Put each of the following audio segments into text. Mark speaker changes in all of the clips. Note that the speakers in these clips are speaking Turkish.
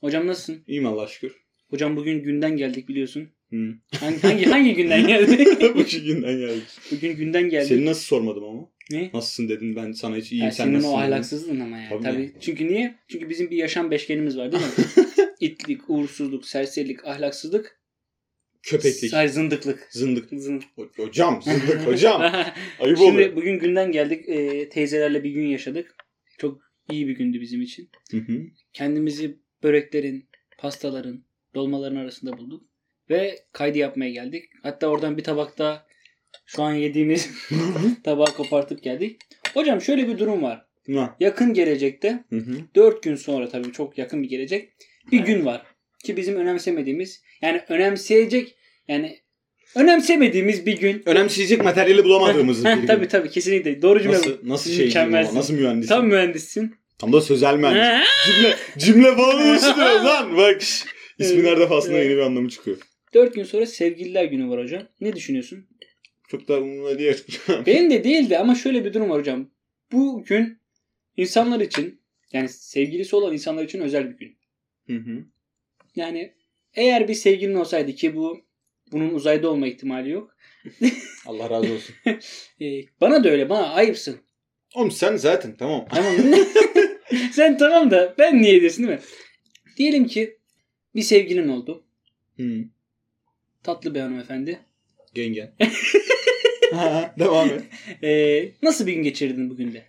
Speaker 1: Hocam nasılsın?
Speaker 2: İyiyim Allah şükür.
Speaker 1: Hocam bugün günden geldik biliyorsun.
Speaker 2: Hı.
Speaker 1: Hangi hangi, hangi günden geldik?
Speaker 2: Bu iki günden geldik.
Speaker 1: bugün günden geldik.
Speaker 2: Seni nasıl sormadım ama?
Speaker 1: Ne?
Speaker 2: Nasılsın dedin ben sana hiç iyiyim
Speaker 1: Ya
Speaker 2: sen
Speaker 1: senin
Speaker 2: nasılsın
Speaker 1: o
Speaker 2: dedim.
Speaker 1: ahlaksızlığın ama ya. Tabii.
Speaker 2: Tabii.
Speaker 1: Çünkü niye? Çünkü bizim bir yaşam beşgenimiz var değil mi? İtlik, uğursuzluk, serserilik, ahlaksızlık,
Speaker 2: Köpeklik.
Speaker 1: say- zındıklık.
Speaker 2: Zındık.
Speaker 1: Zındık.
Speaker 2: Ho- Hocam zındık hocam. Ayıp
Speaker 1: Şimdi
Speaker 2: oluyor.
Speaker 1: bugün günden geldik. Ee, teyzelerle bir gün yaşadık. Çok iyi bir gündü bizim için.
Speaker 2: Hı hı.
Speaker 1: Kendimizi böreklerin, pastaların, dolmaların arasında bulduk. Ve kaydı yapmaya geldik. Hatta oradan bir tabakta şu an yediğimiz tabağı kopartıp geldik. Hocam şöyle bir durum var.
Speaker 2: Ha,
Speaker 1: Yakın gelecekte
Speaker 2: hı hı.
Speaker 1: 4 gün sonra tabii çok yakın bir gelecek bir gün var ki bizim önemsemediğimiz yani önemseyecek yani önemsemediğimiz bir gün.
Speaker 2: Önemseyecek materyali bulamadığımızı.
Speaker 1: Heh, tabii tabii kesinlikle doğru cümle.
Speaker 2: Nasıl, nasıl şey
Speaker 1: Mükemmelsin.
Speaker 2: ama, nasıl mühendisin?
Speaker 1: Tam
Speaker 2: Tam,
Speaker 1: mühendissin.
Speaker 2: da sözel mühendis. cümle, cümle falan üstüne lan bak. şş, İsmin her defasında
Speaker 1: Evet.
Speaker 2: yeni bir anlamı çıkıyor.
Speaker 1: 4 gün sonra sevgililer günü var hocam. Ne düşünüyorsun?
Speaker 2: Çok da umurumda değil açıkçası.
Speaker 1: Benim de değildi ama şöyle bir durum var hocam. Bu gün insanlar için yani sevgilisi olan insanlar için özel bir gün.
Speaker 2: Hı hı.
Speaker 1: Yani eğer bir sevgilin olsaydı ki bu bunun uzayda olma ihtimali yok.
Speaker 2: Allah razı olsun.
Speaker 1: Ee, bana da öyle bana ayıpsın.
Speaker 2: Oğlum sen zaten tamam.
Speaker 1: Tamam. Sen tamam da ben niye diyorsun değil mi? Diyelim ki bir sevgilin oldu.
Speaker 2: Hı.
Speaker 1: Tatlı bir hanımefendi.
Speaker 2: Yengen. Ha, Devam et.
Speaker 1: Ee, nasıl bir gün geçirdin bugün de?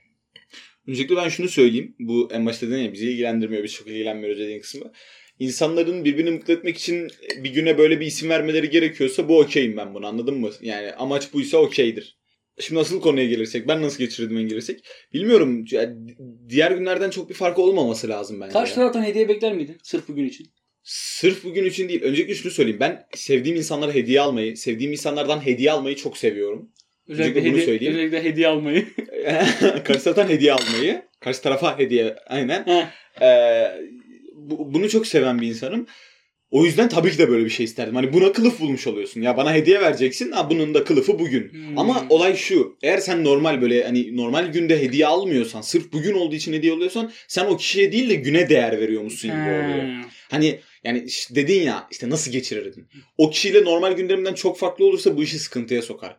Speaker 2: Öncelikle ben şunu söyleyeyim. Bu en başta dedin ya bizi ilgilendirmiyor. Biz çok ilgilenmiyoruz dediğin kısmı. İnsanların birbirini mutlu etmek için bir güne böyle bir isim vermeleri gerekiyorsa bu okeyim ben bunu anladın mı? Yani amaç buysa okeydir. Şimdi asıl konuya gelirsek ben nasıl geçirdim en gelirsek bilmiyorum. Yani di- diğer günlerden çok bir farkı olmaması lazım bence.
Speaker 1: Karşı
Speaker 2: ya.
Speaker 1: taraftan hediye bekler miydin? Sırf bugün için.
Speaker 2: Sırf bugün için değil. Öncelikle şunu söyleyeyim. Ben sevdiğim insanlara hediye almayı, sevdiğim insanlardan hediye almayı çok seviyorum.
Speaker 1: Özellikle,
Speaker 2: Öncelikle bunu
Speaker 1: hediye,
Speaker 2: söyleyeyim.
Speaker 1: özellikle hediye almayı.
Speaker 2: karşı taraftan hediye almayı, karşı tarafa hediye aynen.
Speaker 1: He.
Speaker 2: Ee, bu- bunu çok seven bir insanım. O yüzden tabii ki de böyle bir şey isterdim. Hani buna kılıf bulmuş oluyorsun. Ya bana hediye vereceksin. Ha bunun da kılıfı bugün.
Speaker 1: Hmm.
Speaker 2: Ama olay şu. Eğer sen normal böyle hani normal günde hediye almıyorsan, sırf bugün olduğu için hediye alıyorsan sen o kişiye değil de güne değer veriyormuşsun gibi oluyor.
Speaker 1: Ha.
Speaker 2: Hani yani ş- dedin ya işte nasıl geçirirdin? O kişiyle normal gündemden çok farklı olursa bu işi sıkıntıya sokar.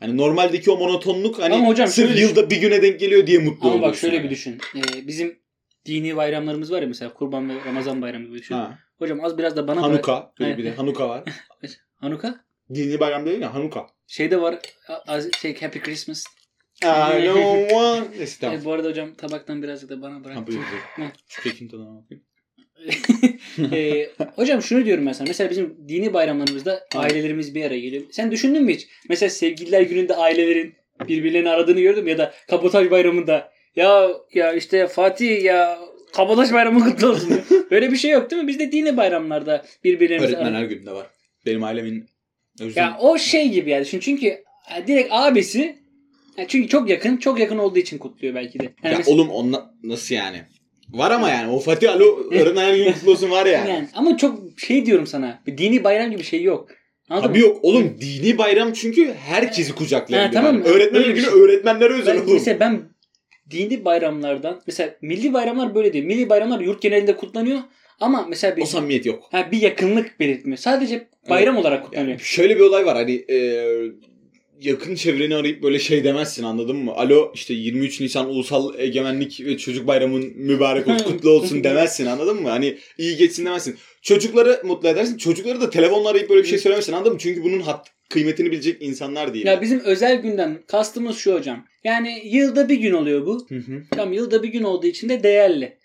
Speaker 2: Hani normaldeki o monotonluk hani
Speaker 1: Ama hocam
Speaker 2: sırf
Speaker 1: şöyle
Speaker 2: yılda bir güne denk geliyor diye mutlu
Speaker 1: Ama
Speaker 2: oluyorsun.
Speaker 1: bak şöyle
Speaker 2: yani.
Speaker 1: bir düşün. Ee, bizim dini bayramlarımız var ya mesela Kurban ve Ramazan bayramı gibi düşün.
Speaker 2: Ha.
Speaker 1: Hocam az biraz da bana
Speaker 2: Hanuka. Böyle
Speaker 1: Evet.
Speaker 2: bir de Hanuka var.
Speaker 1: Hanuka?
Speaker 2: Dini bayram değil ya Hanuka.
Speaker 1: Şeyde Şey var. a- az- şey Happy Christmas.
Speaker 2: I don't want this stuff.
Speaker 1: Ee, bu arada hocam tabaktan birazcık da bana bırak.
Speaker 2: Ha, buyur, buyur.
Speaker 1: Ne?
Speaker 2: Şu kekin tadına bakayım.
Speaker 1: Ee, hocam şunu diyorum ben sana. Mesela bizim dini bayramlarımızda ailelerimiz bir araya geliyor. Sen düşündün mü hiç? Mesela sevgililer gününde ailelerin birbirlerini aradığını gördüm ya da kabotaj bayramında ya ya işte Fatih ya kabotaj bayramı kutlu olsun. diyor. Böyle bir şey yok değil mi? Biz de dini bayramlarda birbirlerimizi
Speaker 2: Öğretmen
Speaker 1: aradık.
Speaker 2: her günde var. Benim ailemin özüm.
Speaker 1: Ya o şey gibi yani. Çünkü, çünkü e, direkt abisi e, çünkü çok yakın, çok yakın olduğu için kutluyor belki de. Yani
Speaker 2: Ya
Speaker 1: mesela-
Speaker 2: oğlum onla... nasıl yani? Var ama yani o Fatih Alo öğretmen her gün kutlu olsun var yani.
Speaker 1: yani. ama çok şey diyorum sana. Bir dini bayram gibi şey yok. Anladın mı?
Speaker 2: Abi yok oğlum dini bayram çünkü herkesi kucaklayan
Speaker 1: Ha,
Speaker 2: bir
Speaker 1: tamam
Speaker 2: bayram.
Speaker 1: mı?
Speaker 2: Öğretmenler
Speaker 1: Öyle bir
Speaker 2: günü
Speaker 1: şey.
Speaker 2: öğretmenlere özel
Speaker 1: Ben,
Speaker 2: oğlum.
Speaker 1: mesela ben dini bayramlardan mesela milli bayramlar böyle değil. Milli bayramlar yurt genelinde kutlanıyor ama mesela bir,
Speaker 2: O samimiyet yok.
Speaker 1: ha, bir yakınlık belirtmiyor. Sadece bayram olarak
Speaker 2: Yani
Speaker 1: kutlanıyor.
Speaker 2: şöyle bir olay var hani e, yakın çevreni arayıp böyle şey demezsin anladın mı? Alo işte 23 Nisan Ulusal Egemenlik ve Çocuk Bayramın mübarek olsun kutlu olsun demezsin anladın mı? Hani iyi geçsin demezsin. Çocukları mutlu edersin. Çocukları da telefonla arayıp böyle bir şey söylemezsin anladın mı? Çünkü bunun hat kıymetini bilecek insanlar şey değil.
Speaker 1: Ya bizim özel günden kastımız şu hocam. Yani yılda bir gün oluyor bu.
Speaker 2: Hı hı.
Speaker 1: Tam yılda bir gün olduğu için de değerli.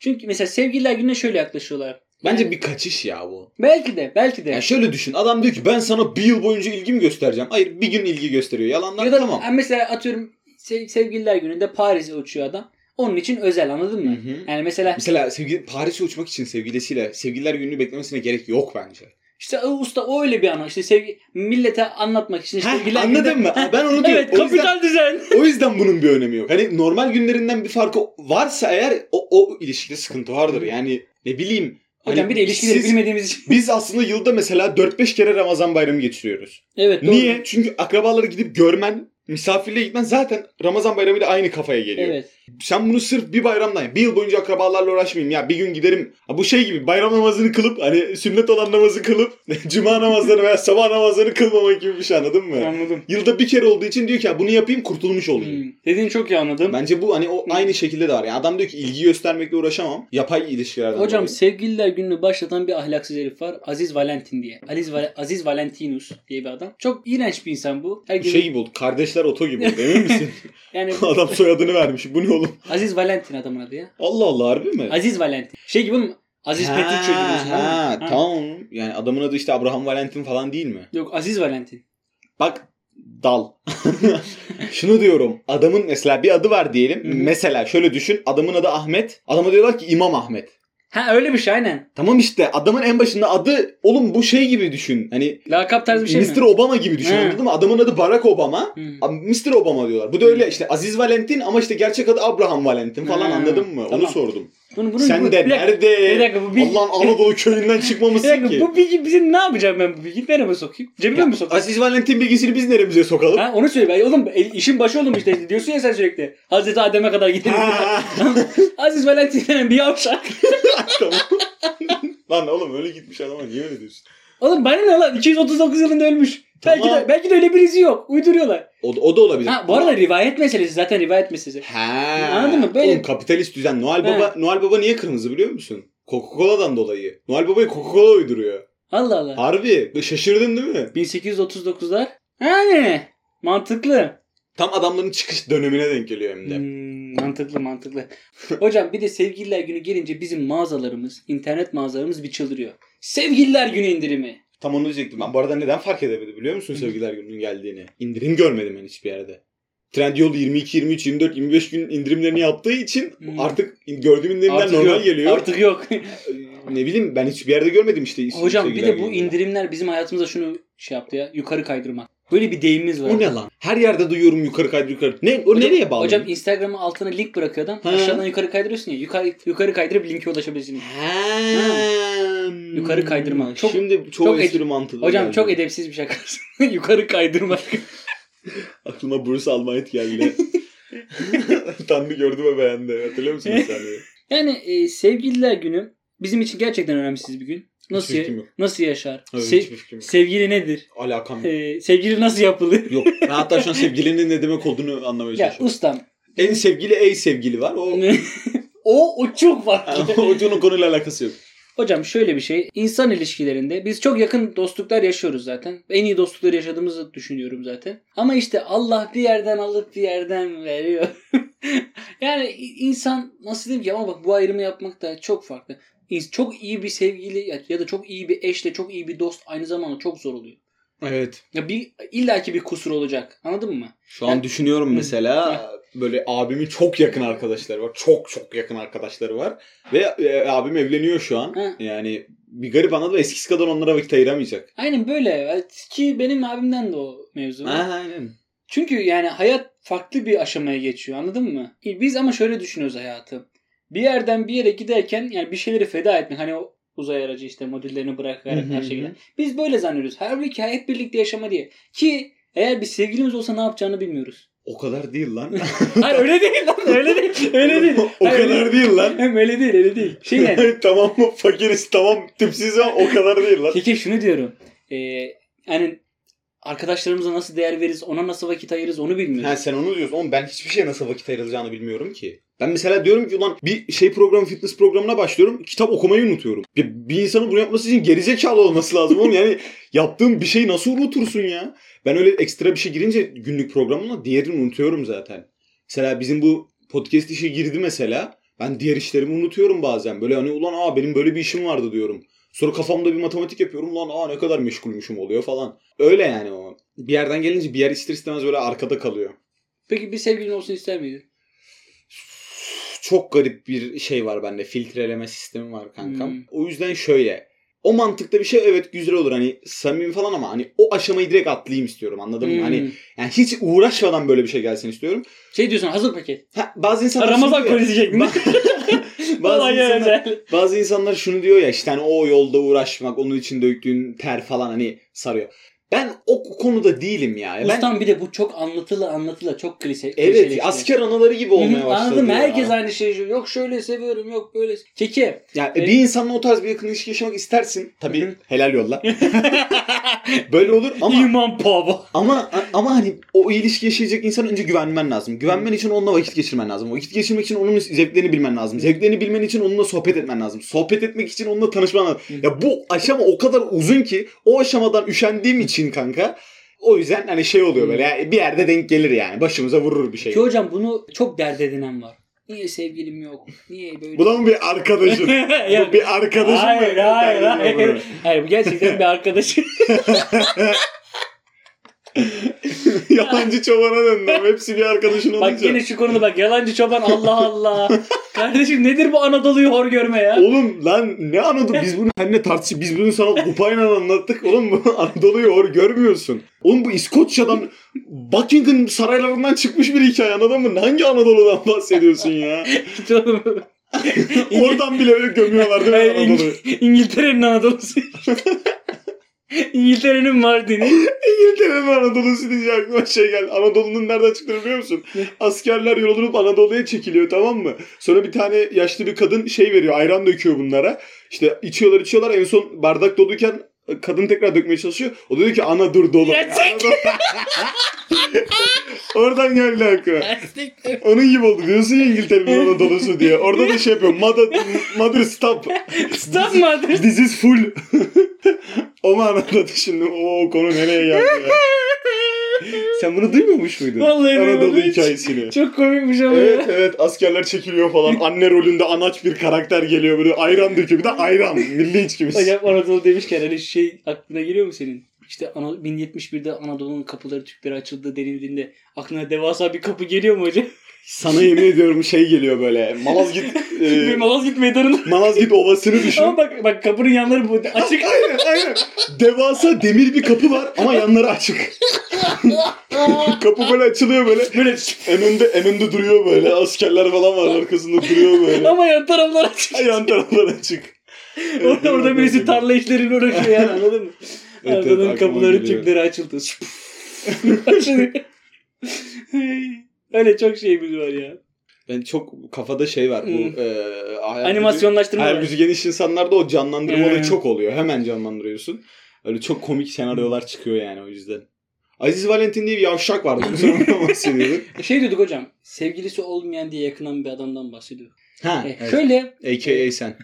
Speaker 1: Çünkü mesela sevgililer gününe şöyle yaklaşıyorlar.
Speaker 2: Bence
Speaker 1: Yani
Speaker 2: bir kaçış ya bu.
Speaker 1: belki de belki de.
Speaker 2: Yani şöyle düşün. Adam diyor ki ben sana bir yıl boyunca ilgimi göstereceğim. Hayır bir gün ilgi gösteriyor. Yalanlar
Speaker 1: ya da er-
Speaker 2: tamam.
Speaker 1: ha, mesela atıyorum sev- sevgililer gününde Paris'e uçuyor adam. Onun için özel anladın mı?
Speaker 2: Hı hı.
Speaker 1: Yani mesela
Speaker 2: Mesela sevgili, Paris'e uçmak için sevgilisiyle sevgililer gününü beklemesine gerek yok bence.
Speaker 1: İşte o usta o öyle bir ana. İşte sevgi millete anlatmak için işte
Speaker 2: Heh,
Speaker 1: sevgiler
Speaker 2: anladın mı? Ben onu diyorum.
Speaker 1: Evet,
Speaker 2: o, yüzden,
Speaker 1: kapital düzen.
Speaker 2: o yüzden bunun bir önemi yok. Hani normal günlerinden bir farkı varsa eğer o, o ilişkide sıkıntı vardır. Yani ne bileyim. Hani
Speaker 1: Hocam bir de ilişkileri
Speaker 2: siz-
Speaker 1: bilmediğimiz için.
Speaker 2: Biz aslında yılda mesela 4-5 kere Ramazan bayramı geçiriyoruz.
Speaker 1: Evet. doğru.
Speaker 2: Niye? Çünkü akrabaları gidip görmen, misafirliğe gitmen zaten Ramazan bayramıyla aynı kafaya geliyor.
Speaker 1: Evet.
Speaker 2: Sen bunu sırf bir bayramdan bir yıl boyunca akrabalarla uğraşmayayım ya bir gün giderim. Ha bu şey gibi bayram namazını kılıp hani sünnet olan namazı kılıp cuma namazları veya sabah namazları kılmamak gibi bir şey anladın mı?
Speaker 1: Anladım.
Speaker 2: Yılda bir kere olduğu için diyor ki "Ha bunu yapayım kurtulmuş olayım.
Speaker 1: Hmm. Dediğini çok iyi anladım.
Speaker 2: Bence bu hani o aynı şekilde de var. Yani adam diyor ki ilgi göstermekle uğraşamam. Yapay ilişkilerden
Speaker 1: Hocam
Speaker 2: dolayı.
Speaker 1: sevgililer gününü başlatan bir ahlaksız herif var. Aziz Valentin diye. Aziz, Val- Aziz Valentinus diye bir adam. Çok iğrenç bir insan bu. Her gün
Speaker 2: şey gibi oldu. Kardeşler oto gibi oldu emin misin?
Speaker 1: yani
Speaker 2: adam soyadını vermiş. Bu ne oğlum?
Speaker 1: Aziz Valentin adamın adı ya.
Speaker 2: Allah Allah harbi mi?
Speaker 1: Aziz Valentin. Şey gibi mi? Aziz
Speaker 2: Ha,
Speaker 1: Petrucci gibi. diyorsun, değil mi?
Speaker 2: Ha,
Speaker 1: Ha.
Speaker 2: tamam. Yani adamın adı işte Abraham Valentin falan değil mi?
Speaker 1: Yok Aziz Valentin.
Speaker 2: Bak dal. Şunu diyorum. Adamın mesela bir adı var diyelim.
Speaker 1: Hı hı.
Speaker 2: Mesela şöyle düşün. Adamın adı Ahmet. Adama diyorlar ki İmam Ahmet.
Speaker 1: Ha öyle bir şey aynen.
Speaker 2: Tamam işte adamın en başında adı oğlum bu şey gibi düşün. Hani
Speaker 1: Lakap tarzı bir şey
Speaker 2: Mr.
Speaker 1: mi?
Speaker 2: Obama gibi düşün
Speaker 1: He.
Speaker 2: anladın mı? Adamın adı Barack Obama.
Speaker 1: Hmm.
Speaker 2: Abi Mr. Obama diyorlar. Bu da öyle işte Aziz Valentin ama işte gerçek adı Abraham Valentin falan
Speaker 1: Ha,
Speaker 2: anladın mı? Onu
Speaker 1: tamam.
Speaker 2: sordum.
Speaker 1: Bunu, bunu,
Speaker 2: Sen
Speaker 1: bu-
Speaker 2: de
Speaker 1: bir dakika, bir
Speaker 2: nerede?
Speaker 1: dakika bu bilgi.
Speaker 2: Allah'ın Anadolu köyünden
Speaker 1: bir
Speaker 2: çıkmamışsın
Speaker 1: dakika
Speaker 2: ki.
Speaker 1: bu bilgi bizim ne yapacağım ben bu bilgi? Nereye mi sokayım? Cebime
Speaker 2: Ya,
Speaker 1: mi sokayım?
Speaker 2: Aziz Valentin bilgisini biz neremize sokalım?
Speaker 1: Ha onu söyle. Ben, oğlum el- işin başı oğlum işte. Diyorsun ya sen sürekli. Hazreti Adem'e kadar gidelim.
Speaker 2: Ha.
Speaker 1: Aziz Valentin'den bir yavşak.
Speaker 2: tamam. Lan oğlum öyle gitmiş adama niye öyle diyorsun?
Speaker 1: Oğlum bana ne lan? 239 yılında ölmüş.
Speaker 2: Tamam.
Speaker 1: Belki de, belki de öyle birisi yok. Uyduruyorlar.
Speaker 2: O, da- o da olabilir.
Speaker 1: Ha, bu arada rivayet meselesi zaten rivayet meselesi.
Speaker 2: Ha.
Speaker 1: Anladın mı? Böyle-
Speaker 2: Oğlum kapitalist düzen.
Speaker 1: He.
Speaker 2: Noel Baba Noel Baba niye kırmızı biliyor musun? Coca-Cola'dan dolayı. Noel Baba'yı Coca-Cola uyduruyor.
Speaker 1: Allah Allah.
Speaker 2: Harbi. Şaşırdın değil mi?
Speaker 1: 1839'lar. Yani mantıklı.
Speaker 2: Tam adamların çıkış dönemine denk geliyor hem de.
Speaker 1: Hmm, mantıklı mantıklı. Hocam bir de sevgililer günü gelince bizim mağazalarımız, internet mağazalarımız bir çıldırıyor. Sevgililer günü indirimi.
Speaker 2: Tam onu diyecektim. Ben bu arada neden fark edemedi biliyor musun
Speaker 1: Hı.
Speaker 2: sevgiler gününün geldiğini? İndirim görmedim ben hiçbir yerde. Trendyol 22, 23, 24, 25 gün indirimlerini yaptığı için
Speaker 1: Hmm.
Speaker 2: artık in- gördüğüm indirimler
Speaker 1: Artık
Speaker 2: normal
Speaker 1: yok,
Speaker 2: geliyor.
Speaker 1: Artık yok.
Speaker 2: Ee, Ne bileyim ben hiçbir yerde görmedim işte. is-
Speaker 1: Hocam bir
Speaker 2: sevgiler
Speaker 1: de bu
Speaker 2: gününü.
Speaker 1: indirimler bizim hayatımıza şunu şey yaptı ya. Yukarı kaydırmak. Böyle bir deyimimiz var.
Speaker 2: O ne lan? Her yerde duyuyorum yukarı kaydır yukarı. Ne? O nereye bağlı?
Speaker 1: Hocam Instagram'a altına link bırakıyor adam.
Speaker 2: He.
Speaker 1: Aşağıdan yukarı kaydırıyorsun ya. Yukarı, yukarı kaydırıp linke ulaşabilirsin.
Speaker 2: Hem.
Speaker 1: Yukarı kaydırma. Çok-
Speaker 2: Şimdi çoğu
Speaker 1: çok
Speaker 2: çok
Speaker 1: ed-
Speaker 2: espri mantığı.
Speaker 1: Hocam
Speaker 2: geldi.
Speaker 1: çok edepsiz bir şaka. yukarı kaydırmak.
Speaker 2: Aklıma Bruce Almighty geldi. Tanrı gördü ve beğendi. Hatırlıyor musun bir saniye?
Speaker 1: Yani e, sevgililer günü bizim için gerçekten önemsiz bir gün. Nasıl
Speaker 2: Hiçbir fikrim yok.
Speaker 1: nasıl yaşar?
Speaker 2: Evet,
Speaker 1: Se-
Speaker 2: hiçbir fikrim yok.
Speaker 1: sevgili nedir?
Speaker 2: Alakam yok.
Speaker 1: E, sevgili nasıl yapılır?
Speaker 2: Yok. Ben hatta şu an sevgilinin ne demek olduğunu anlamaya
Speaker 1: ya
Speaker 2: çalışıyorum.
Speaker 1: ustam.
Speaker 2: En sevgili ey sevgili var. O,
Speaker 1: o o çok farklı.
Speaker 2: o konuyla alakası yok.
Speaker 1: Hocam şöyle bir şey. insan ilişkilerinde biz çok yakın dostluklar yaşıyoruz zaten. En iyi dostlukları yaşadığımızı düşünüyorum zaten. Ama işte Allah bir yerden alıp bir yerden veriyor. yani insan nasıl diyeyim ki ama bak bu ayrımı yapmak da çok farklı. İns- Çok iyi bir sevgili ya- ya da çok iyi bir eşle çok iyi bir dost aynı zamanda çok zor oluyor.
Speaker 2: Evet.
Speaker 1: Ya bir illaki bir kusur olacak. Anladın mı?
Speaker 2: Şu an
Speaker 1: Yani-
Speaker 2: düşünüyorum mesela böyle abimin çok yakın arkadaşları var. Çok çok yakın arkadaşları var. Ve e, abim evleniyor şu an.
Speaker 1: Hı.
Speaker 2: Yani bir garip anladım. Eskisi kadar onlara vakit ayıramayacak.
Speaker 1: Aynen böyle. Ki benim abimden de o mevzu.
Speaker 2: Aynen.
Speaker 1: Çünkü yani hayat farklı bir aşamaya geçiyor anladın mı? Biz ama şöyle düşünüyoruz hayatı. Bir yerden bir yere giderken yani bir şeyleri feda etmek hani o uzay aracı işte modüllerini bırakarak
Speaker 2: Hı hı
Speaker 1: her
Speaker 2: hı.
Speaker 1: şekilde. Biz böyle zannediyoruz. Halbuki hep birlikte yaşama diye. Ki eğer bir sevgilimiz olsa ne yapacağını bilmiyoruz.
Speaker 2: O kadar değil lan.
Speaker 1: Hayır öyle değil lan öyle değil. Öyle değil.
Speaker 2: o
Speaker 1: Hayır,
Speaker 2: kadar değil lan.
Speaker 1: Hem öyle değil öyle değil. Şey yani.
Speaker 2: tamam mı? Fakiriz tamam. Tipsiz ama o kadar değil lan.
Speaker 1: Peki şunu diyorum. Ee, yani arkadaşlarımıza nasıl değer veririz ona nasıl vakit ayırırız onu bilmiyoruz.
Speaker 2: Ha sen onu diyorsun. Oğlum ben hiçbir şeye nasıl vakit ayrılacağını bilmiyorum ki. Ben mesela diyorum ki ulan bir şey programı fitness programına başlıyorum. Kitap okumayı unutuyorum. Bir, bir insanın bunu yapması için gerizekalı olması lazım oğlum. Yani yaptığım bir şeyi nasıl unutursun ya? Ben öyle ekstra bir şey girince günlük programına diğerini unutuyorum zaten. Mesela bizim bu podcast işe girdi mesela. Ben diğer işlerimi unutuyorum bazen. Böyle hani ulan aa benim böyle bir işim vardı diyorum. Sonra kafamda bir matematik yapıyorum. Ulan aa ne kadar meşgulmüşüm oluyor falan. Öyle yani o. Bir yerden gelince bir yer ister istemez böyle arkada kalıyor.
Speaker 1: Peki bir sevgilin olsun ister miydin?
Speaker 2: çok garip bir şey var bende. Filtreleme sistemi var kankam.
Speaker 1: Hmm.
Speaker 2: O yüzden şöyle. O mantıkta bir şey evet güzel olur hani samimi falan ama hani o aşamayı direkt atlayayım istiyorum anladın mı?
Speaker 1: Hmm.
Speaker 2: Hani yani hiç uğraşmadan böyle bir şey gelsin istiyorum.
Speaker 1: Şey diyorsun hazır paket.
Speaker 2: Ha, bazı insanlar
Speaker 1: Ramazan
Speaker 2: şunu diyor-
Speaker 1: kolisi şeklinde.
Speaker 2: bazı,
Speaker 1: Olay yani.
Speaker 2: insanlar, E, bazı insanlar şunu diyor ya işte hani o yolda uğraşmak onun için döktüğün ter falan hani sarıyor. Ben o konuda değilim ya. Ben
Speaker 1: Ustam bir de bu çok anlatılı anlatıla çok klişe.
Speaker 2: evet
Speaker 1: klişeleşti.
Speaker 2: asker anaları gibi
Speaker 1: Şey, Hı hı,
Speaker 2: olmaya başladı.
Speaker 1: Anladım
Speaker 2: ya.
Speaker 1: herkes aynı şeyi söylüyor. Yok şöyle seviyorum yok böyle. Keke.
Speaker 2: Yani
Speaker 1: Evet.
Speaker 2: bir insanla o tarz bir yakın ilişki yaşamak istersin. Tabii
Speaker 1: Hı hı.
Speaker 2: helal yolla. Böyle olur ama
Speaker 1: İman baba.
Speaker 2: ama ama hani o ilişki yaşayacak insan önce güvenmen lazım. Güvenmen için onunla vakit geçirmen lazım. Vakit geçirmek için onun zevklerini bilmen lazım. Zevklerini bilmen için onunla sohbet etmen lazım. Sohbet etmek için onunla tanışman lazım.
Speaker 1: Hı.
Speaker 2: Ya bu aşama o kadar uzun ki o aşamadan üşendiğim için kanka o yüzden hani şey oluyor
Speaker 1: Hı.
Speaker 2: böyle ya bir yerde denk gelir yani. Başımıza vurur bir şey.
Speaker 1: Ki hocam bunu çok dert edinen var. Niye sevgilim yok? Niye böyle?
Speaker 2: Bu da mı bir arkadaşın?
Speaker 1: Ya-
Speaker 2: Bu bir arkadaşın
Speaker 1: hayır,
Speaker 2: mı?
Speaker 1: hayır,
Speaker 2: Kendine
Speaker 1: hayır.
Speaker 2: vurur.
Speaker 1: Hayır bu gerçekten bir arkadaşım.
Speaker 2: Yalancı çobana döndüm. Hepsi bir arkadaşın
Speaker 1: bak
Speaker 2: olunca.
Speaker 1: yine şu konuda bak yalancı çoban Allah Allah. Kardeşim nedir bu Anadolu'yu hor görme ya?
Speaker 2: Oğlum lan ne anladım biz bunu seninle tartışıp biz bunu sana kupayla anlattık. Oğlum bu Anadolu'yu or görmüyorsun. Oğlum bu İskoçya'dan Buckingham saraylarından çıkmış bir hikaye anladın mı? Hangi Anadolu'dan bahsediyorsun ya? Oradan bile öyle gömüyorlar değil mi Anadolu'yu?
Speaker 1: İngiltere'nin Anadolu'su. İngiltere'nin Mardin'i.
Speaker 2: İngiltere'nin Anadolu'su diye aklıma şey geldi. Anadolu'nun nereden çıktığını biliyor musun? Askerler yorulup Anadolu'ya çekiliyor tamam mı? Sonra bir tane yaşlı bir kadın şey veriyor. Ayran döküyor bunlara. İşte içiyorlar içiyorlar. En son bardak doluyken kadın tekrar dökmeye çalışıyor. O da diyor ki ana dur dolu.
Speaker 1: Ya çek!
Speaker 2: Anadolu- Oradan geldi aklıma.
Speaker 1: Gerçekten.
Speaker 2: Onun gibi oldu. Diyorsun ya İngiltere'nin Anadolu'su diye. Orada da şey yapıyor. Mother, mother stop.
Speaker 1: Stop mother.
Speaker 2: This is full. o mu anladı şimdi? O konu nereye geldi ya? Sen bunu duymamış muydun?
Speaker 1: Vallahi
Speaker 2: Anadolu
Speaker 1: duymadım hiç.
Speaker 2: hikayesini.
Speaker 1: Çok komikmiş ama ya.
Speaker 2: Evet evet askerler çekiliyor falan. Anne rolünde anaç bir karakter geliyor böyle ayran döküyor. Bir de ayran milli içkimiz.
Speaker 1: Hocam Anadolu demişken hani şey aklına geliyor mu senin? İşte Ana- 1071'de Anadolu'nun kapıları Türklere açıldı denildiğinde aklına devasa bir kapı geliyor mu hocam?
Speaker 2: Sana yemin ediyorum şey geliyor böyle. Malazgirt e,
Speaker 1: Bir Malazgirt Meydanı'nın
Speaker 2: Malazgirt ovasını düşün.
Speaker 1: ama bak bak kapının yanları bu açık.
Speaker 2: aynen aynen. Devasa demir bir kapı var ama yanları açık. kapı böyle açılıyor böyle.
Speaker 1: Böyle
Speaker 2: Önünde önünde duruyor böyle. Askerler falan var arkasında duruyor böyle.
Speaker 1: ama yan taraflar açık.
Speaker 2: Ay, Yan taraflar açık.
Speaker 1: orada, orada birisi tarla işleriyle uğraşıyor yani anladın mı?
Speaker 2: Evet, evet,
Speaker 1: Anadolu'nun
Speaker 2: aklıma
Speaker 1: kapıları
Speaker 2: geliyor.
Speaker 1: Türklere açıldı. Açılıyor. Öyle çok şeyimiz var ya.
Speaker 2: Ben çok kafada şey var
Speaker 1: Hmm.
Speaker 2: bu e, hayal gücü,
Speaker 1: Animasyonlaştırma.
Speaker 2: hayal gücü geniş insanlarda o canlandırmaları
Speaker 1: Hmm.
Speaker 2: çok oluyor. Hemen canlandırıyorsun. Öyle çok komik senaryolar çıkıyor yani o yüzden. Aziz Valentin diye bir yavşak vardı. Biz ondan bahsediyorduk.
Speaker 1: Şey diyorduk hocam. Sevgilisi olmayan diye yakınan bir adamdan bahsediyorduk.
Speaker 2: Ha,
Speaker 1: E,
Speaker 2: evet.
Speaker 1: Şöyle
Speaker 2: AKA sen.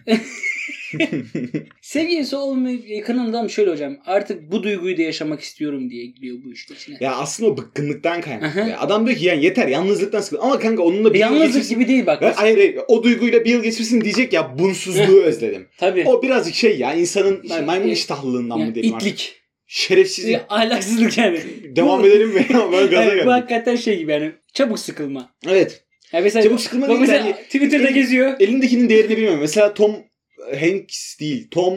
Speaker 1: sevgilisi olmayıp yakınan adam şöyle hocam. Artık bu duyguyu da yaşamak istiyorum diye gidiyor bu işte içine.
Speaker 2: ya aslında o bıkkınlıktan kaynaklı.
Speaker 1: Aha.
Speaker 2: ya. Adam diyor ki yani yeter yalnızlıktan sıkıldım. Ama kanka onunla
Speaker 1: E,
Speaker 2: bir yıl
Speaker 1: yalnızlık
Speaker 2: geçirsin.
Speaker 1: gibi değil bak.
Speaker 2: Ha, Hayır, hayır o duyguyla bir yıl geçirsin diyecek ya bunsuzluğu özledim.
Speaker 1: Tabii.
Speaker 2: O birazcık şey ya insanın
Speaker 1: İşte,
Speaker 2: maymun
Speaker 1: e,
Speaker 2: iştahlılığından
Speaker 1: Yani
Speaker 2: mı diyelim artık.
Speaker 1: itlik.
Speaker 2: Şerefsizlik.
Speaker 1: Ya, ahlaksızlık yani.
Speaker 2: Devam edelim mi? ben gaza
Speaker 1: Yani
Speaker 2: geldim.
Speaker 1: bu hakikaten şey gibi yani çabuk sıkılma.
Speaker 2: Evet.
Speaker 1: Yani mesela,
Speaker 2: Çabuk sıkılma
Speaker 1: bak
Speaker 2: değil de
Speaker 1: mesela
Speaker 2: hani-
Speaker 1: Twitter'da geziyor.
Speaker 2: Elindekinin değerini bilmiyorum. Mesela Tom Hanks değil. Tom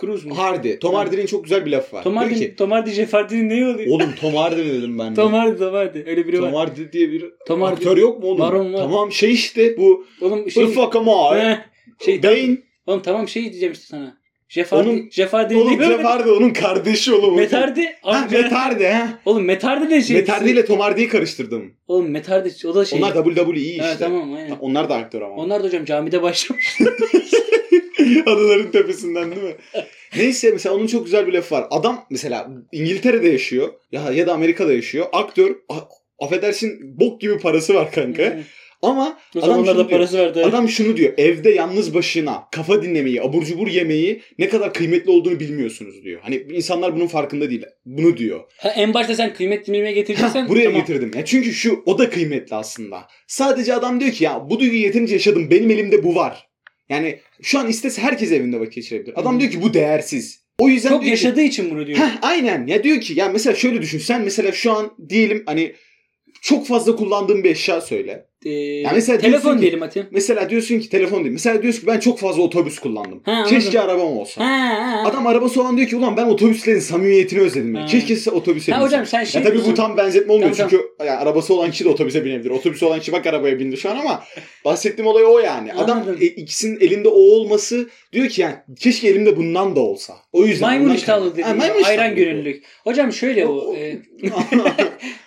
Speaker 1: Cruise mu?
Speaker 2: Hardy. Tom Hardy'nin çok güzel bir lafı var.
Speaker 1: Tom
Speaker 2: Diyor
Speaker 1: Hardy,
Speaker 2: ki,
Speaker 1: Tom Hardy Jefardi'nin neyi oluyor?
Speaker 2: Oğlum Tom Hardy mi dedim ben? de.
Speaker 1: Tom Hardy, Tom Hardy. Öyle biri
Speaker 2: Tom
Speaker 1: var.
Speaker 2: Hardy diye bir
Speaker 1: Tom Hardy.
Speaker 2: aktör yok mu oğlum?
Speaker 1: Var oğlum, var.
Speaker 2: Tamam şey işte bu.
Speaker 1: Oğlum şey...
Speaker 2: Şey, Ifaka Mar.
Speaker 1: Heh, şey
Speaker 2: Bane.
Speaker 1: Oğlum tamam şey diyeceğim işte sana. Jefardi,
Speaker 2: Oğlum-
Speaker 1: Jefardi
Speaker 2: Oğlum Jeff Hardy onun kardeşi oğlum.
Speaker 1: Metardi.
Speaker 2: Ha,
Speaker 1: Abi,
Speaker 2: Matt Hardy ha.
Speaker 1: Oğlum Metardi de şey.
Speaker 2: Matt Hardy ile Tom Hardy'yi karıştırdım.
Speaker 1: Oğlum Metardi o da şey.
Speaker 2: Onlar WWE işte.
Speaker 1: Ha, tamam aynen.
Speaker 2: Onlar da aktör ama.
Speaker 1: Onlar da hocam camide başlamış.
Speaker 2: Adaların tepesinden değil mi? Neyse mesela onun çok güzel bir lafı var. Adam mesela İngiltere'de yaşıyor ya ya da Amerika'da yaşıyor. Aktör a- affedersin bok gibi parası var kanka. Ama
Speaker 1: o
Speaker 2: adam
Speaker 1: zamanlar da
Speaker 2: şunu diyor.
Speaker 1: parası vardı.
Speaker 2: Adam şunu diyor. Evde yalnız başına kafa dinlemeyi, abur cubur yemeyi ne kadar kıymetli olduğunu bilmiyorsunuz diyor. Hani insanlar bunun farkında değil. Bunu diyor.
Speaker 1: Ha, en başta sen kıymet bilmeye getireceksen.
Speaker 2: Buraya
Speaker 1: tamam.
Speaker 2: getirdim. Ya çünkü şu o da kıymetli aslında. Sadece adam diyor ki ya bu duyguyu yeterince yaşadım. Benim elimde bu var. Yani şu an istese herkes evinde vakit geçirebilir. Adam
Speaker 1: Hı.
Speaker 2: diyor ki bu değersiz. O yüzden
Speaker 1: Çok
Speaker 2: diyor ki-
Speaker 1: yaşadığı için bunu diyor.
Speaker 2: Heh, aynen. Ya diyor ki ya mesela şöyle düşün. Sen mesela şu an diyelim hani çok fazla kullandığın bir eşya söyle.
Speaker 1: e,
Speaker 2: Ya mesela diyorsun
Speaker 1: telefon
Speaker 2: ki-
Speaker 1: diyelim Ati.
Speaker 2: Mesela diyorsun ki telefon değil. Mesela diyorsun ki ben çok fazla otobüs kullandım.
Speaker 1: Ha, anladım.
Speaker 2: Keşke arabam olsa.
Speaker 1: Ha, ha, ha.
Speaker 2: Adam arabası olan diyor ki ulan ben otobüslerin samimiyetini özledim. ben.
Speaker 1: Ha.
Speaker 2: Keşke size otobüse
Speaker 1: Ha
Speaker 2: binsem."
Speaker 1: hocam sen şey
Speaker 2: ya tabii bu
Speaker 1: diyorsun.
Speaker 2: tam benzetme olmuyor
Speaker 1: Tamam,
Speaker 2: çünkü yani arabası olan kişi de otobüse binebilir. Otobüsü olan kişi bak arabaya bindi şu an ama bahsettiğim olay o yani. Adam
Speaker 1: Anladım.
Speaker 2: e, ikisinin elinde o olması diyor ki yani keşke elimde bundan da olsa. O yüzden
Speaker 1: Maymun
Speaker 2: ondan
Speaker 1: iştahlı
Speaker 2: kaynaklı. Ha,
Speaker 1: dediğin
Speaker 2: maymun
Speaker 1: ayran
Speaker 2: iştahlı.
Speaker 1: gönüllülük. Hocam şöyle bu. e,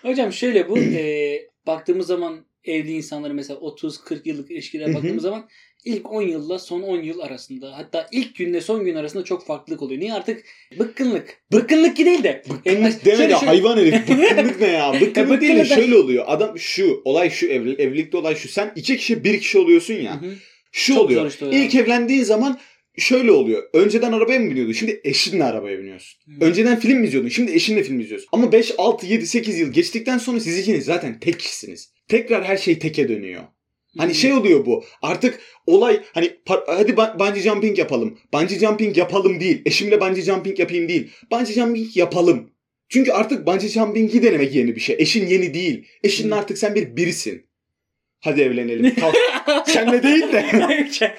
Speaker 1: hocam şöyle bu. e, baktığımız zaman evli insanları mesela 30-40 yıllık ilişkilere
Speaker 2: Hı hı.
Speaker 1: baktığımız zaman ilk 10 yılla son 10 yıl arasında hatta ilk günle son gün arasında çok farklılık oluyor. Niye artık bıkkınlık. Bıkkınlık ki değil de.
Speaker 2: Bıkkınlık deme
Speaker 1: Şöyle
Speaker 2: ya
Speaker 1: şöyle-
Speaker 2: hayvan herif. Bıkkınlık ne ya?
Speaker 1: Şey, Ya
Speaker 2: Bıkkınlık değil de
Speaker 1: bıkkınlık da-
Speaker 2: şöyle oluyor. Adam şu olay şu evli- evlilikte olay şu. Sen iki kişi bir kişi oluyorsun ya.
Speaker 1: Hı hı.
Speaker 2: Şu
Speaker 1: Çok
Speaker 2: oluyor.
Speaker 1: zor işte o ya.
Speaker 2: İlk evlendiğin zaman şöyle oluyor. Önceden arabaya mı biniyordun? Şimdi eşinle arabaya biniyorsun.
Speaker 1: Hı.
Speaker 2: Önceden film mi izliyordun? Şimdi eşinle film izliyorsun. Ama 5, 6, 7, 8 yıl geçtikten sonra siz ikiniz zaten tek kişisiniz. Tekrar her şey teke dönüyor. Hani
Speaker 1: Hı.
Speaker 2: şey oluyor bu. Artık olay hani par- hadi ba- bungee jumping yapalım. Bungee jumping yapalım değil. Eşimle bungee jumping yapayım değil. Bungee jumping yapalım. Çünkü artık bungee jumping'i denemek yeni bir şey. Eşin yeni değil. Eşinle
Speaker 1: Hı.
Speaker 2: artık sen bir birisin. Hadi evlenelim. Kalk. Senle değil de.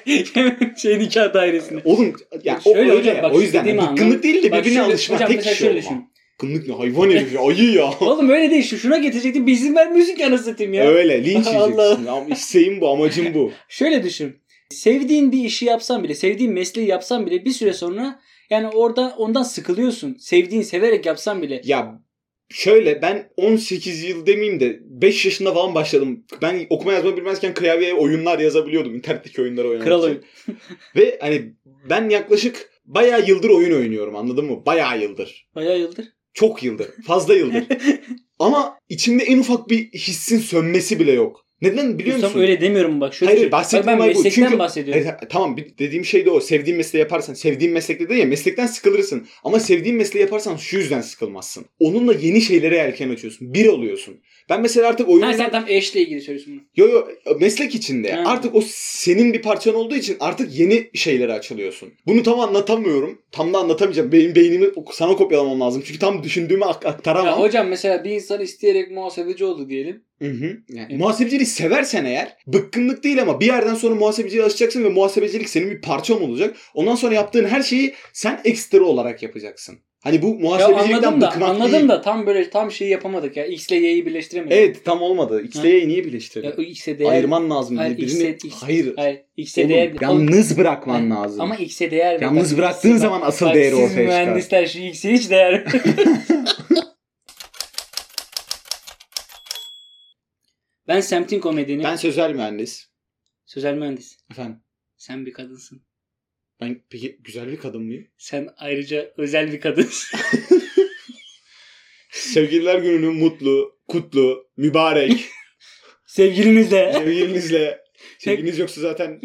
Speaker 1: şey nikah dairesinde.
Speaker 2: Oğlum yani o,
Speaker 1: Şöyle
Speaker 2: öyle
Speaker 1: hocam,
Speaker 2: ya.
Speaker 1: bak
Speaker 2: o yüzden
Speaker 1: istediğimi
Speaker 2: bıkkınlık değil de
Speaker 1: Bak
Speaker 2: birbirine
Speaker 1: şöyle-
Speaker 2: alışma
Speaker 1: hocam
Speaker 2: tek
Speaker 1: mesela
Speaker 2: şey
Speaker 1: şöyle
Speaker 2: olma.
Speaker 1: düşün.
Speaker 2: Bıkkınlık ne hayvan herif ya ayı ya.
Speaker 1: Oğlum öyle değil. Şu- Şuna getirecektim. Biz izin vermiyorsun ki anasını satayım ya.
Speaker 2: Öyle linç
Speaker 1: Allah.
Speaker 2: yiyeceksin. Ama isteğim bu amacım bu.
Speaker 1: Şöyle düşün. Sevdiğin bir işi yapsan bile, sevdiğin mesleği yapsan bile bir süre sonra yani orada ondan sıkılıyorsun. Sevdiğin severek yapsan bile.
Speaker 2: Ya şöyle ben 18 yıl demeyeyim de 5 yaşında falan başladım. Ben okuma yazma bilmezken klavyeye oyunlar yazabiliyordum. İnternetteki oyunları oynamak
Speaker 1: Kral
Speaker 2: için.
Speaker 1: oyun.
Speaker 2: Ve hani ben yaklaşık bayağı yıldır oyun oynuyorum anladın mı? Bayağı yıldır.
Speaker 1: Bayağı yıldır.
Speaker 2: Çok yıldır. Fazla yıldır. Ama içimde en ufak bir hissin sönmesi bile yok. Neden biliyor
Speaker 1: Ustam
Speaker 2: musun?
Speaker 1: öyle demiyorum bak. Şöyle
Speaker 2: Hayır,
Speaker 1: düşün. Bak
Speaker 2: bahsettiğim
Speaker 1: ben
Speaker 2: olay bu.
Speaker 1: meslekten
Speaker 2: Çünkü-
Speaker 1: bahsediyorum.
Speaker 2: E, ta- tamam bir- dediğim şey de o. Sevdiğin mesleği yaparsan, sevdiğin meslekte de ya meslekten sıkılırsın. Ama sevdiğin mesleği yaparsan şu yüzden sıkılmazsın. Onunla yeni şeylere yelken açıyorsun. Bir oluyorsun. Ben mesela artık oyun
Speaker 1: Ha, sen tam eşle ilgili söylüyorsun bunu.
Speaker 2: yo yo meslek içinde.
Speaker 1: Ha.
Speaker 2: Artık o senin bir parçan olduğu için artık yeni şeylere açılıyorsun. Bunu tam anlatamıyorum. Tam da anlatamayacağım. Benim beynimi sana kopyalamam lazım. Çünkü tam düşündüğümü ak-
Speaker 1: Ya,
Speaker 2: aktaramam.
Speaker 1: hocam mesela bir insan isteyerek muhasebeci oldu diyelim.
Speaker 2: Hı hı. Yani
Speaker 1: Evet.
Speaker 2: Muhasebeciliği seversen eğer bıkkınlık değil ama bir yerden sonra muhasebeciliğe alışacaksın ve muhasebecilik senin bir parçan olacak. Ondan sonra yaptığın her şeyi sen ekstra olarak yapacaksın. Hani bu
Speaker 1: Ya
Speaker 2: muhasebecilikten
Speaker 1: anladım da
Speaker 2: bıkmak
Speaker 1: anladım
Speaker 2: değil.
Speaker 1: da tam böyle tam şeyi yapamadık ya. X ile Y'yi birleştiremedik.
Speaker 2: Evet tam olmadı. X'le
Speaker 1: Ha.
Speaker 2: Y'yi niye birleştirdin?
Speaker 1: Ya, o X'e değer.
Speaker 2: Ayırman lazım.
Speaker 1: Hayır,
Speaker 2: birbirini.
Speaker 1: X'e- X'e-
Speaker 2: Hayır.
Speaker 1: Hayır. X'e değer.
Speaker 2: Oğlum, yalnız bırakman lazım.
Speaker 1: Ama X'e değer. mi?
Speaker 2: yalnız
Speaker 1: Bak,
Speaker 2: bıraktığın
Speaker 1: siz-
Speaker 2: zaman asıl
Speaker 1: bak,
Speaker 2: değeri
Speaker 1: Siz
Speaker 2: ortaya çıkar.
Speaker 1: mühendisler şu X'e hiç değer. ben semtin komedini.
Speaker 2: Ben sözel mühendis.
Speaker 1: Sözel mühendis.
Speaker 2: Efendim.
Speaker 1: Sen bir kadınsın.
Speaker 2: Ben peki güzel bir kadın mıyım?
Speaker 1: Sen ayrıca özel bir kadınsın.
Speaker 2: Sevgililer gününü mutlu, kutlu, mübarek.
Speaker 1: Sevgilinizle.
Speaker 2: Sevgilinizle. Sevgiliniz yoksa zaten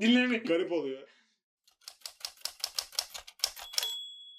Speaker 1: Dinlemeyin.
Speaker 2: garip oluyor.